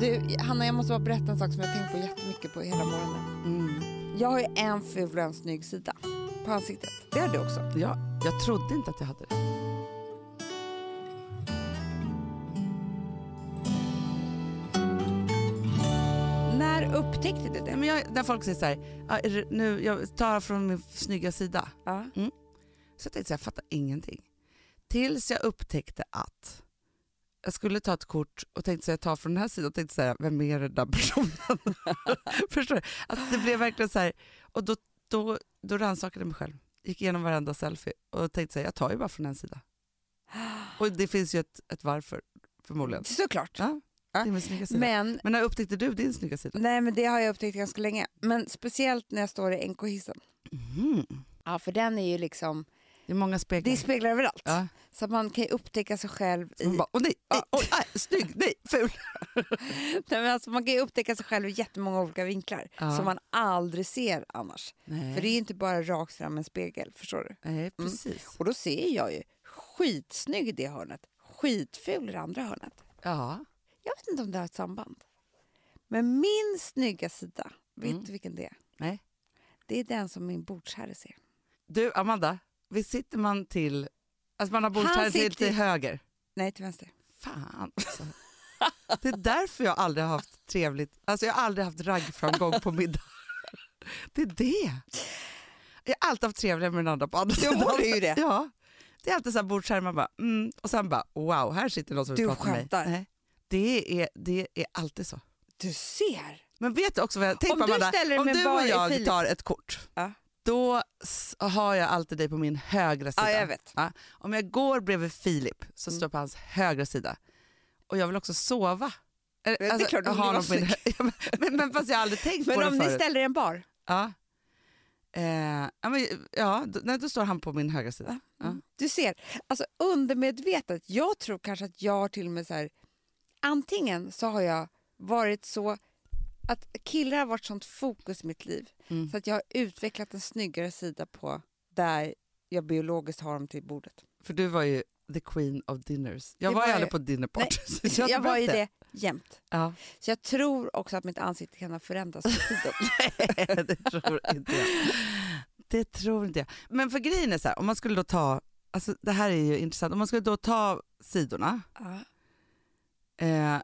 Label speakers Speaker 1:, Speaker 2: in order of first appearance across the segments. Speaker 1: Du, Hanna, jag måste bara berätta en sak som jag har tänkt på jättemycket på hela morgonen.
Speaker 2: Mm.
Speaker 1: Jag har ju en ful och en snygg sida på ansiktet. Det har du också.
Speaker 2: Ja, jag trodde inte att jag hade det.
Speaker 1: När upptäckte du
Speaker 2: Nej,
Speaker 1: det?
Speaker 2: men jag, när folk säger så här, "Ja, är det- nu, jag tar från min snygga sida.
Speaker 1: Ja.
Speaker 2: Så jag tänkte så här, jag fattar ingenting. Tills jag upptäckte att jag skulle ta ett kort och tänkte så här, jag tar från den här sidan och tänkte så här, vem är den där personen? Förstår du? Att det blev verkligen så här, och då, då, då rannsakade jag mig själv. Gick igenom varenda selfie och tänkte så här, jag tar ju bara från en sida. Och det finns ju ett, ett varför förmodligen.
Speaker 1: Såklart.
Speaker 2: Ja, det är min snygga sida. Men,
Speaker 1: Men,
Speaker 2: när upptäckte du din snygga sida?
Speaker 1: nej, men det har jag upptäckt ganska länge. Men speciellt när jag står i NK-hissen.
Speaker 2: Mhm.
Speaker 1: Ja, för den är ju liksom...
Speaker 2: Det är många speglar.
Speaker 1: Det speglar överallt.
Speaker 2: ja.
Speaker 1: Så att man kan ju upptäcka sig själv i...
Speaker 2: Man bara, åh nej, ah, nej,
Speaker 1: Ja.
Speaker 2: åh, nej, snygg, nej, ful.
Speaker 1: Nej, men alltså, man kan ju upptäcka sig själv i jättemånga olika vinklar
Speaker 2: Ja.
Speaker 1: som man aldrig ser annars.
Speaker 2: Nej,
Speaker 1: För det Mm. är ju inte bara rakt fram en spegel, förstår du?
Speaker 2: nej precis.
Speaker 1: Och då ser jag ju skitsnygg i det hörnet, skitful i det andra hörnet.
Speaker 2: Ja.
Speaker 1: Jag vet inte om det har ett samband. Men min snygga sida, vet
Speaker 2: Mm.
Speaker 1: du vilken det är?
Speaker 2: Nej.
Speaker 1: Det är den som min bordsherre ser.
Speaker 2: Du, Amanda, visst sitter man till... Alltså man har bordsherren
Speaker 1: Han sitter-
Speaker 2: till, till höger.
Speaker 1: Nej, till vänster.
Speaker 2: Fan alltså. Det är därför jag aldrig har haft trevligt... Alltså jag har aldrig haft raggframgång på middag. Det är det. Jag har alltid haft trevligare med den andra på andra
Speaker 1: Du har ju det.
Speaker 2: Ja. Det är alltid så här bordsherre, man bara mm, och sen bara wow, här sitter någon som
Speaker 1: Du
Speaker 2: vill prata med mig.
Speaker 1: skämtar.
Speaker 2: Nej. Det är, det är alltid så.
Speaker 1: Du ser!
Speaker 2: Men vet du också vad jag tänker
Speaker 1: Om
Speaker 2: på
Speaker 1: du
Speaker 2: Amanda?
Speaker 1: ställer dig
Speaker 2: Om
Speaker 1: med
Speaker 2: du
Speaker 1: bar
Speaker 2: och
Speaker 1: i
Speaker 2: jag
Speaker 1: fil-
Speaker 2: tar ett kort,
Speaker 1: Ja.
Speaker 2: då s- har jag alltid dig på min högra sida.
Speaker 1: Ja, jag vet. Mm.
Speaker 2: Ja. Om jag går bredvid Filip så står jag på hans högra sida och jag vill också sova. Eller, alltså,
Speaker 1: Det är klart du
Speaker 2: ha
Speaker 1: vill
Speaker 2: honom på min
Speaker 1: vara
Speaker 2: hö- men, men fast jag har aldrig tänkt på
Speaker 1: Men om
Speaker 2: det
Speaker 1: ni
Speaker 2: förut.
Speaker 1: ställer er i en bar,
Speaker 2: Ja. Eh, ja, men, ja, då, nej, då står han på min högra sida. Ja.
Speaker 1: mm, Du ser, alltså undermedvetet, jag tror kanske att jag har till och med så här, antingen så har jag varit så att killar har varit sånt fokus i mitt liv
Speaker 2: Mm.
Speaker 1: så att jag har utvecklat en snyggare sida på där jag biologiskt har dem till bordet.
Speaker 2: För du var ju the queen of dinners. Jag
Speaker 1: Det
Speaker 2: var,
Speaker 1: var
Speaker 2: ju
Speaker 1: jag-
Speaker 2: aldrig på dinner parties. så
Speaker 1: Jag,
Speaker 2: hade
Speaker 1: var ju
Speaker 2: behövt
Speaker 1: det jämt.
Speaker 2: Ja.
Speaker 1: Så jag tror också att mitt ansikte kan ha förändrats med tiden.
Speaker 2: det tror inte jag. Det tror inte jag. Men för grejen är så här, om man skulle då ta, alltså det här är ju intressant, om man skulle då ta sidorna,
Speaker 1: ja.
Speaker 2: eh,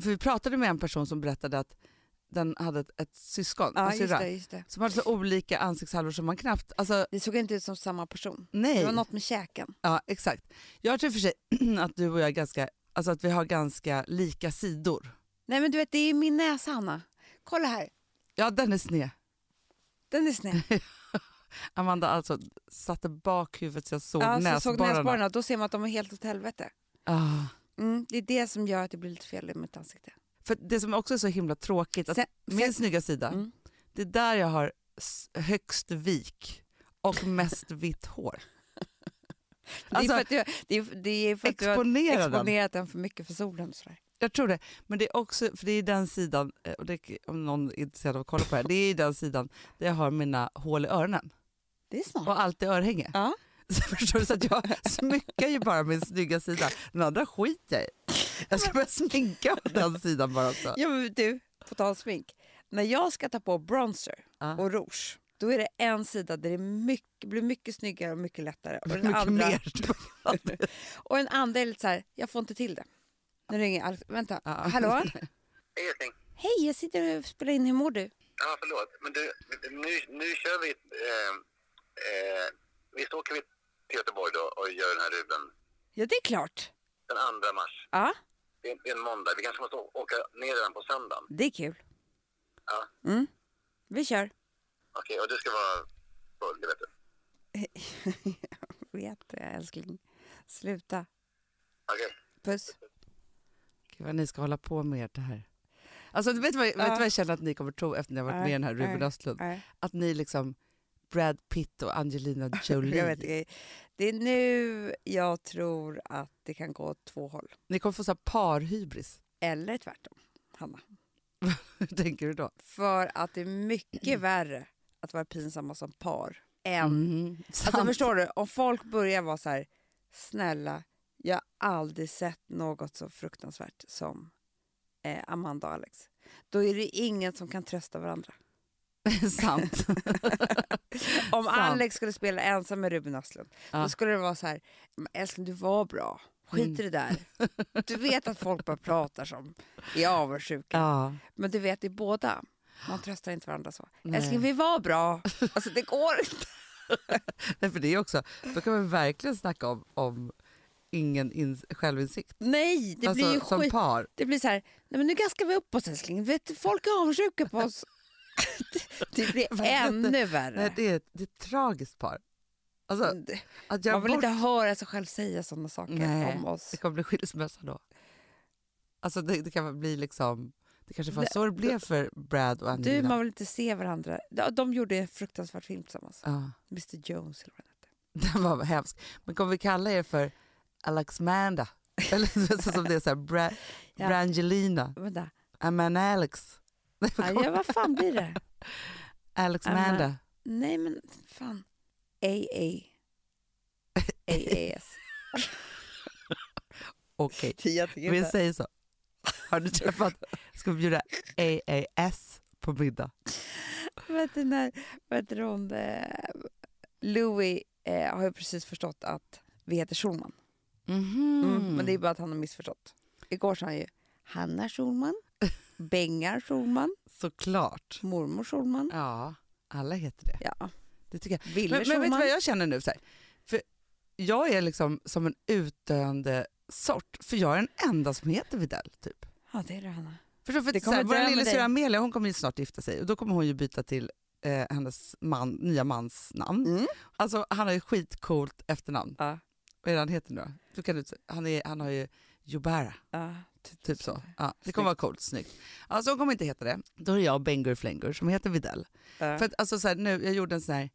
Speaker 2: för vi pratade med en person som berättade att den hade ett, ett syskon,
Speaker 1: ja, just
Speaker 2: en syrra,
Speaker 1: det, just det.
Speaker 2: som hade så olika ansiktshalvor som man knappt, alltså
Speaker 1: Det såg inte ut som samma person. Det
Speaker 2: nej.
Speaker 1: var något med käken.
Speaker 2: Ja, exakt. Jag tror i och för sig att du och jag är ganska, alltså att vi har ganska lika sidor.
Speaker 1: Nej men du vet, det är min näsa Hanna. Kolla här,
Speaker 2: Ja, den är sned.
Speaker 1: den är sned.
Speaker 2: Amanda alltså satte bakhuvudet så jag såg
Speaker 1: Ja, så såg
Speaker 2: näsborrarna.
Speaker 1: näsborrarna. Då ser man att de är helt åt helvete.
Speaker 2: ah.
Speaker 1: Mm, det är det som gör att det blir lite fel i mitt ansikte.
Speaker 2: För det som också är så himla tråkigt, att
Speaker 1: Sen-
Speaker 2: min
Speaker 1: sen-
Speaker 2: snygga sida,
Speaker 1: Mm.
Speaker 2: det är där jag har s- högst vik och mest vitt hår.
Speaker 1: det är
Speaker 2: Alltså,
Speaker 1: för att, du, det är, det är för att du har
Speaker 2: exponera den.
Speaker 1: exponerat den för mycket för solen. Och sådär.
Speaker 2: Jag tror det. Men det är också, för det är den sidan, eh, och det, om någon är intresserad av att kolla på det här, det är den sidan där jag har mina hål i öronen
Speaker 1: Det är smart.
Speaker 2: och alltid örhänge.
Speaker 1: Ja.
Speaker 2: Så förstår du? Så att jag smyckar ju bara min snygga sida. Den andra skiter jag i. Jag ska börja sminka på den sidan bara. Så.
Speaker 1: Ja, men du, på tal om smink. När jag ska ta på bronzer
Speaker 2: Ja.
Speaker 1: och rouge, då är det en sida där det är mycket, blir mycket snyggare och mycket lättare. Och den,
Speaker 2: Mycket
Speaker 1: andra,
Speaker 2: mer.
Speaker 1: och den andra är lite så här, jag får inte till det. Nu ringer Alex. Vänta,
Speaker 2: Ja.
Speaker 1: hallå?
Speaker 3: Ingenting.
Speaker 1: Hej, jag sitter och spelar in. Hur mår du?
Speaker 3: Ja, förlåt. Men du, nu, nu kör vi... Eh, eh, visst åker vi till Göteborg då och gör den här ruben
Speaker 1: Ja, det är klart.
Speaker 3: den 2 mars?
Speaker 1: Ja,
Speaker 3: Det är, det är en måndag. Vi kanske måste å- åka ner redan på söndagen?
Speaker 1: det är kul.
Speaker 3: Ja.
Speaker 1: Mm. Vi kör.
Speaker 3: Okej, och du ska vara full, det vet du.
Speaker 1: Jag vet det, älskling. Sluta.
Speaker 3: Okej.
Speaker 1: Puss.
Speaker 2: Gud vad ni ska hålla på med ert det här. Alltså, vet, du vad, vet du vad jag känner att ni kommer tro efter ni har varit
Speaker 1: Nej,
Speaker 2: med i den här Ruben
Speaker 1: nej,
Speaker 2: Östlund?
Speaker 1: nej.
Speaker 2: Att ni liksom Brad Pitt och Angelina Jolie.
Speaker 1: Jag vet, det. det är nu jag tror att det kan gå åt två håll.
Speaker 2: Ni kommer få så här parhybris.
Speaker 1: Eller tvärtom, Hanna.
Speaker 2: Hur tänker du då?
Speaker 1: För att det är mycket värre att vara pinsamma som par än... Alltså
Speaker 2: Mm. Sant.
Speaker 1: förstår du, om folk börjar vara så här, snälla, jag har aldrig sett något så fruktansvärt som eh, Amanda och Alex. Då är det ingen som kan trösta varandra.
Speaker 2: Sant.
Speaker 1: Om
Speaker 2: Sant.
Speaker 1: Alex skulle spela ensam med Ruben Östlund,
Speaker 2: Ja. Mm.
Speaker 1: då skulle det vara så här, "Men älskling du var bra, skit i det där. Du vet att folk bara pratar som är avundsjuka.
Speaker 2: ja.
Speaker 1: Men du vet, det är båda. Man tröstar inte varandra så.
Speaker 2: Nej.
Speaker 1: Älskling, vi var bra. Alltså det går inte.
Speaker 2: Nej, för det är också, då kan man verkligen snacka om, om ingen ins- självinsikt.
Speaker 1: Nej, det
Speaker 2: alltså,
Speaker 1: blir ju
Speaker 2: som
Speaker 1: skit.
Speaker 2: par.
Speaker 1: Det blir så här, nej men nu gaskar vi upp oss älskling. Vet, du, folk är avundsjuka på oss. Det- det blir
Speaker 2: Verkligen.
Speaker 1: ännu värre.
Speaker 2: Nej, det, är, ett- det är ett tragiskt par. Alltså,
Speaker 1: Det-
Speaker 2: att jag
Speaker 1: Mm. Man vill
Speaker 2: bort...
Speaker 1: inte höra sig själv säga sådana saker
Speaker 2: Nej.
Speaker 1: om oss.
Speaker 2: Det kommer bli skilsmässa då. Alltså det, det kan väl bli liksom... Det kanske var
Speaker 1: Nej,
Speaker 2: så det blev för Brad och Angelina.
Speaker 1: Du, man vill inte se varandra. De, de gjorde en fruktansvärd film tillsammans.
Speaker 2: ja,
Speaker 1: Mr Jones eller vad den hette.
Speaker 2: den var hemsk. Men kommer vi kalla er för Alexmanda? Eller så som det är så här, Bra,
Speaker 1: Ja.
Speaker 2: Brangelina,
Speaker 1: Vänta,
Speaker 2: Aman Alex. Nej, vad
Speaker 1: Aj,
Speaker 2: kommer-
Speaker 1: ja, vad fan blir det?
Speaker 2: Alexmanda.
Speaker 1: Nej men fan. AA. AAS.
Speaker 2: Okej,
Speaker 1: Jag
Speaker 2: vi säger så. Har du träffat... Ska vi bjuda AAS på middag?
Speaker 1: Vad heter den här, vad heter hon? eh, Louis eh, har ju precis förstått att vi heter Schulman. Mm. Men det är bara att han har missförstått. Igår sa han ju Hanna Schulman, Bengar Schulman,
Speaker 2: Såklart.
Speaker 1: mormor Schulman.
Speaker 2: Ja, alla heter det.
Speaker 1: Ja.
Speaker 2: Det tycker jag.
Speaker 1: Ville
Speaker 2: Men, men vet du
Speaker 1: Schulman.
Speaker 2: vad jag känner nu? Så här? För jag är liksom som en utdöende sort, för jag är den enda som heter Videll. Typ.
Speaker 1: Ja, det är det Hanna.
Speaker 2: Förstår du? För
Speaker 1: Det
Speaker 2: att så här,
Speaker 1: kommer dö
Speaker 2: vår
Speaker 1: med dig.
Speaker 2: lillasyrra Amelia hon kommer ju snart gifta sig och då kommer hon ju byta till eh, hennes man, nya mans namn.
Speaker 1: Mm.
Speaker 2: Alltså han har ju skitcoolt efternamn.
Speaker 1: Ja.
Speaker 2: Vad är det han heter nu då? du kan, ut- han, är, han har ju Jubara,
Speaker 1: Ja,
Speaker 2: typ så. Ja, det kommer vara coolt, snyggt. Alltså hon kommer inte heta det. Då är jag Bengur Flängur som heter Videll.
Speaker 1: ja.
Speaker 2: För att, alltså, så här, nu, jag gjorde en sån här,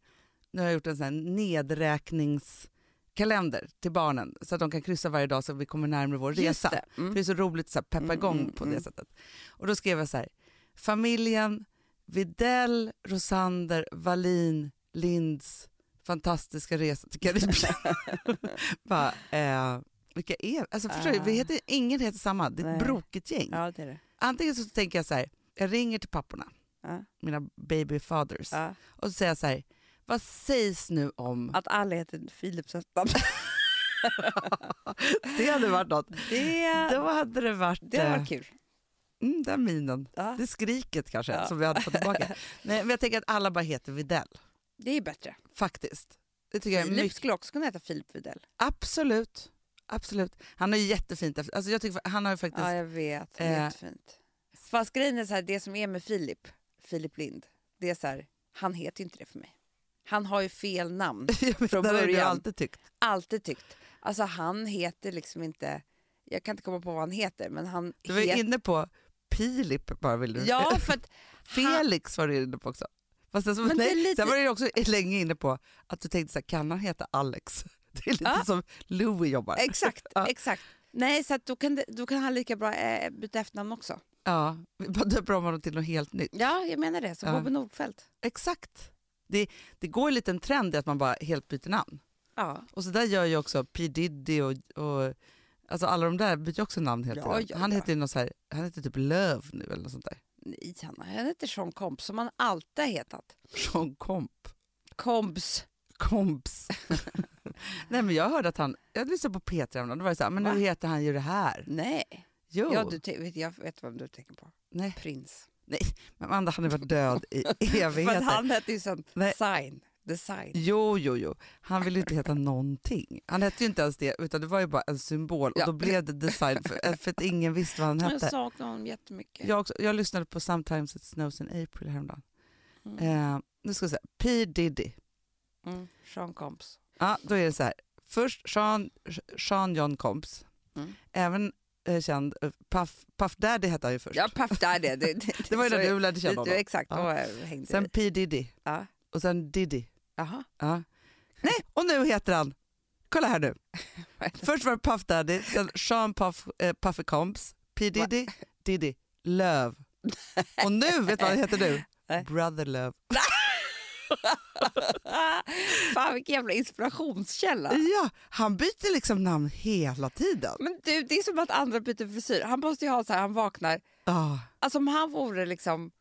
Speaker 2: nu har jag gjort en sån här nedräkningskalender till barnen så att de kan kryssa varje dag så att vi kommer närmare vår
Speaker 1: Just
Speaker 2: resa.
Speaker 1: det. Mm.
Speaker 2: Det är så roligt att så här peppa
Speaker 1: Mm,
Speaker 2: igång
Speaker 1: mm,
Speaker 2: på det
Speaker 1: mm.
Speaker 2: sättet. Och då skrev jag så här, familjen Videll, Rosander, Wallin, Linds fantastiska resa till Karibien. Bara, eh, vilka är alltså, förstår du, vi?
Speaker 1: Ah.
Speaker 2: Heter, ingen heter samma, det är ett
Speaker 1: Nej.
Speaker 2: brokigt gäng.
Speaker 1: Ja, det är det.
Speaker 2: Antingen så tänker jag så här, jag ringer till papporna,
Speaker 1: Ja.
Speaker 2: mina baby fathers.
Speaker 1: Ja.
Speaker 2: Och så säger jag så här, vad sägs nu om...
Speaker 1: Att alla heter Philips efternamn.
Speaker 2: Det hade varit något.
Speaker 1: Det,
Speaker 2: Då hade det varit...
Speaker 1: det hade
Speaker 2: eh,
Speaker 1: varit kul.
Speaker 2: mm, den minen.
Speaker 1: Ja.
Speaker 2: Det skriket kanske
Speaker 1: Ja.
Speaker 2: som vi hade fått tillbaka. Nej, men jag tänker att alla bara heter Videll,
Speaker 1: Det är bättre.
Speaker 2: faktiskt. Det tycker jag är
Speaker 1: Filip
Speaker 2: mycket...
Speaker 1: skulle också kunna heta Filip Widell.
Speaker 2: Absolut. Absolut. Han är ju jättefint. efter- Alltså jag tycker, han har ju faktiskt...
Speaker 1: Ja, jag vet. Det
Speaker 2: Eh.
Speaker 1: är jättefint. Fast grejen är så här, det som är med Filip, Filip Lind, det är så här, han heter ju inte det för mig. Han har ju fel namn,
Speaker 2: jag
Speaker 1: från
Speaker 2: menar, det har jag
Speaker 1: början.
Speaker 2: alltid tyckt.
Speaker 1: alltid tyckt. Alltså han heter liksom inte, jag kan inte komma på vad han heter, men han
Speaker 2: Du var ju
Speaker 1: heter...
Speaker 2: inne på Pilip bara, vill du?
Speaker 1: Ja, för att han,
Speaker 2: Felix var du inne på också. Fast sen, så,
Speaker 1: Men det är
Speaker 2: nej,
Speaker 1: lite-
Speaker 2: sen var du också länge inne på att du tänkte så här, kan han heta Alex? Det är lite
Speaker 1: Ja.
Speaker 2: som Louis jobbar.
Speaker 1: exakt,
Speaker 2: Ja.
Speaker 1: exakt. Nej, så att då, kan det, då kan han lika bra eh, byta efternamn också.
Speaker 2: Ja, vi bara döper om honom till något helt nytt.
Speaker 1: Ja, jag menar det. Som
Speaker 2: Ja.
Speaker 1: Bobby Nordfeldt.
Speaker 2: Exakt. Det, det går ju en liten trend i att man bara helt byter namn.
Speaker 1: Ja.
Speaker 2: Och så där gör ju också P Diddy och, och alltså alla de där byter ju också namn helt
Speaker 1: Ja,
Speaker 2: tiden.
Speaker 1: ja,
Speaker 2: Han
Speaker 1: ja.
Speaker 2: heter ju något så här, han heter typ Löv nu eller något sånt där.
Speaker 1: Nej, Hanna. Han heter Sean Combs, som han alltid har hetat.
Speaker 2: Sean Komp.
Speaker 1: Combs.
Speaker 2: Komps. Nej men jag hörde att han, jag lyssnade på P3 häromdagen, då var det så här, "Ah, men
Speaker 1: Va?
Speaker 2: nu heter han ju det här.
Speaker 1: Nej.
Speaker 2: Jo.
Speaker 1: Ja, du te- vet, jag vet vem du tänker på.
Speaker 2: Nej,
Speaker 1: Prins.
Speaker 2: men Amanda han har varit död i
Speaker 1: För
Speaker 2: evigheter.
Speaker 1: att han hette ju sen
Speaker 2: Nej.
Speaker 1: Sign. Design.
Speaker 2: Jo, jo, jo. Han ville ju inte heta någonting. Han hette ju inte ens det, utan det var ju bara en symbol och
Speaker 1: Ja.
Speaker 2: då blev det design för, eh, för att ingen visste vad han
Speaker 1: Jag
Speaker 2: hette.
Speaker 1: saknar honom jättemycket.
Speaker 2: Jag, också, jag lyssnade på Sometimes It Snows in April häromdagen.
Speaker 1: Mm.
Speaker 2: Eh, nu ska vi se, P Diddy.
Speaker 1: Mm. Sean Combs.
Speaker 2: Ja, då är det så här. Först Sean, Sean John Combs,
Speaker 1: Mm.
Speaker 2: även eh, känd, eh, Puff, Puff Daddy hette han ju först.
Speaker 1: Ja, paff, där är det. Det, det,
Speaker 2: Det var ju när
Speaker 1: så-
Speaker 2: du lärde känna
Speaker 1: det, det,
Speaker 2: honom.
Speaker 1: Exakt,
Speaker 2: Ja.
Speaker 1: då hängde
Speaker 2: Sen
Speaker 1: vi.
Speaker 2: P Diddy
Speaker 1: Ja.
Speaker 2: och sen Diddy.
Speaker 1: Jaha.
Speaker 2: Ja. Nej, och nu heter han, kolla här nu. Först var det Puff Daddy, sen Sean Puff, eh, Puffy Combs, P Diddy, Diddy, Love. Och nu, vet du vad han heter nu?
Speaker 1: Nej.
Speaker 2: Brother Love.
Speaker 1: Fan vilken jävla inspirationskälla.
Speaker 2: Ja, han byter liksom namn hela tiden.
Speaker 1: Men du, det är som att andra byter frisyr. Han måste ju ha så här, han vaknar.
Speaker 2: Ja,
Speaker 1: Alltså om han vore liksom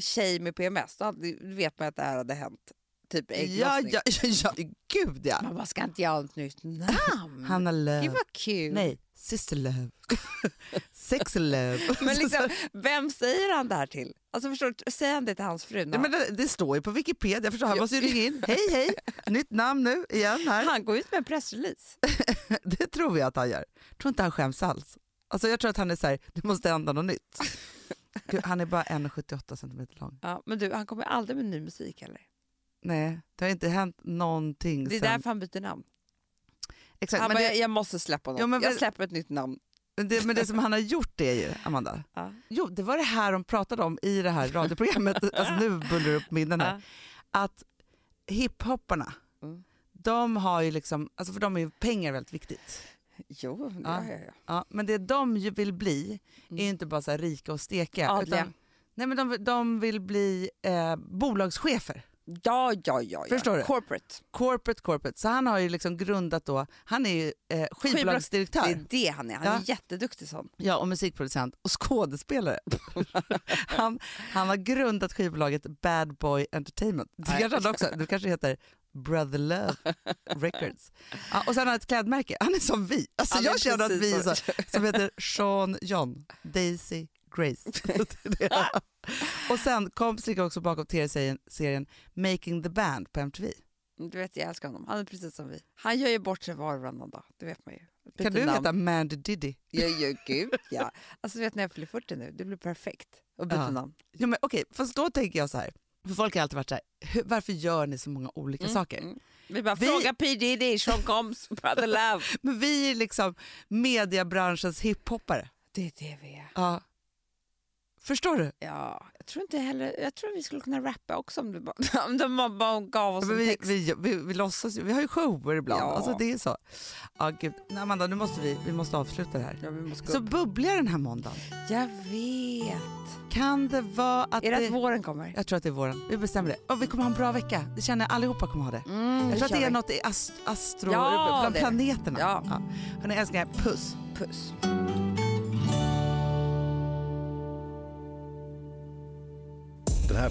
Speaker 1: tjej med PMS, då hade, då vet man att det här hade hänt. Typ
Speaker 2: ja,
Speaker 1: ägglossning.
Speaker 2: ja, ja, ja, gud ja.
Speaker 1: Man bara, ska inte jag ha ett nytt namn?
Speaker 2: Hanna
Speaker 1: Gud
Speaker 2: Lööf.
Speaker 1: vad kul.
Speaker 2: eh, Nej, Sister Lööf. Sex Lööf.
Speaker 1: Men liksom, vem säger han det här till? Alltså förstår du, säger han det till hans fru?
Speaker 2: Nej, men det, det står ju på Wikipedia, jag förstår, han måste ju ringa in. Hej hej, nytt namn nu igen här.
Speaker 1: Han går ut med en pressrelease.
Speaker 2: Det tror jag att han gör. Jag tror inte han skäms alls. Alltså jag tror att han är så här, det måste hända något nytt. Gud, han är bara 1,78 centimeter lång.
Speaker 1: Ja, men du, han kommer aldrig med ny musik heller.
Speaker 2: Nej, det har inte hänt någonting
Speaker 1: Det är
Speaker 2: sen.
Speaker 1: därför han byter namn.
Speaker 2: Exakt,
Speaker 1: han
Speaker 2: men,
Speaker 1: bara,
Speaker 2: det,
Speaker 1: jag, jag måste släppa något.
Speaker 2: Ja, men
Speaker 1: jag
Speaker 2: väl-
Speaker 1: släpper ett nytt namn.
Speaker 2: men det, men det som han har gjort det är ju, Amanda.
Speaker 1: Ja.
Speaker 2: Jo, det var det här de pratade om i det här radioprogrammet, alltså nu bullrar det upp minnen här.
Speaker 1: Ja.
Speaker 2: Att hiphopparna,
Speaker 1: Mm.
Speaker 2: de har ju liksom, alltså för dem är ju pengar väldigt viktigt.
Speaker 1: Jo, ja,
Speaker 2: Ja.
Speaker 1: ja, ja.
Speaker 2: Ja, men det de ju vill bli är
Speaker 1: Mm.
Speaker 2: ju inte bara så här rika och stekiga.
Speaker 1: Adliga.
Speaker 2: Utan, nej, men de, de vill bli eh, bolagschefer.
Speaker 1: Ja, ja, ja. ja.
Speaker 2: Förstår du?
Speaker 1: Corporate.
Speaker 2: Corporate, corporate. Så han har ju liksom grundat då, han är ju eh,
Speaker 1: Det
Speaker 2: skivbolagsdirektör
Speaker 1: är det han är. Han
Speaker 2: Ja.
Speaker 1: är jätteduktig sån.
Speaker 2: ja, och musikproducent och skådespelare. han, han har grundat skivbolaget Bad Boy Entertainment. Du
Speaker 1: Nej.
Speaker 2: kanske, han också, du kanske heter Brother Love Records. Ja, och sen har han ett klädmärke. Han är som vi. Alltså,
Speaker 1: Han är
Speaker 2: jag känner att vi är
Speaker 1: precis
Speaker 2: så, som heter Sean John, Daisy Grace. Det är det. och sen kompisar ligger också bakom tv-serien serien Making the Band på MTV.
Speaker 1: Du vet, jag älskar honom. Han är precis som vi. Han gör ju bort sig var och varannan dag. Det vet man ju.
Speaker 2: Kan
Speaker 1: Byter
Speaker 2: du
Speaker 1: namn.
Speaker 2: heta Mandy Diddy?
Speaker 1: Ja, ja, gud ja. Alltså du vet när jag fyller 40 nu, det blir perfekt att byta
Speaker 2: Ja.
Speaker 1: namn.
Speaker 2: Ja, men okej, fast då tänker jag så här. För folk har alltid varit så här, "Hur- varför gör ni så många olika saker?
Speaker 1: Vi bara,
Speaker 2: Vi-
Speaker 1: fråga P Diddy, Sean Combs, Brother Love.
Speaker 2: Men vi är liksom mediebranschens hiphoppare.
Speaker 1: Det är det vi är.
Speaker 2: Ja. Förstår du?
Speaker 1: Ja, jag tror inte heller, jag tror vi skulle kunna rappa också om, du bara, om de bara gav oss
Speaker 2: Men
Speaker 1: en
Speaker 2: vi,
Speaker 1: text.
Speaker 2: vi, vi, vi låtsas ju, vi har ju shower ibland.
Speaker 1: Ja.
Speaker 2: Alltså det är så. Ja, gud. Nej, Amanda, nu måste vi, vi måste avsluta det här.
Speaker 1: Ja, vi måste gå
Speaker 2: Så
Speaker 1: upp.
Speaker 2: bubbliga den här måndagen.
Speaker 1: Jag vet.
Speaker 2: Kan det vara att
Speaker 1: Är det att
Speaker 2: det...
Speaker 1: våren kommer?
Speaker 2: Jag tror att det är våren. Vi bestämmer det. Och vi kommer ha en bra vecka. Det känner jag allihopa kommer ha det.
Speaker 1: Mm,
Speaker 2: Jag tror att det är
Speaker 1: nåt
Speaker 2: något i ast astro...
Speaker 1: Ja,
Speaker 2: bland
Speaker 1: det är det.
Speaker 2: planeterna.
Speaker 1: Ja.
Speaker 2: Hörni älsklingar, puss.
Speaker 1: puss.
Speaker 4: Den här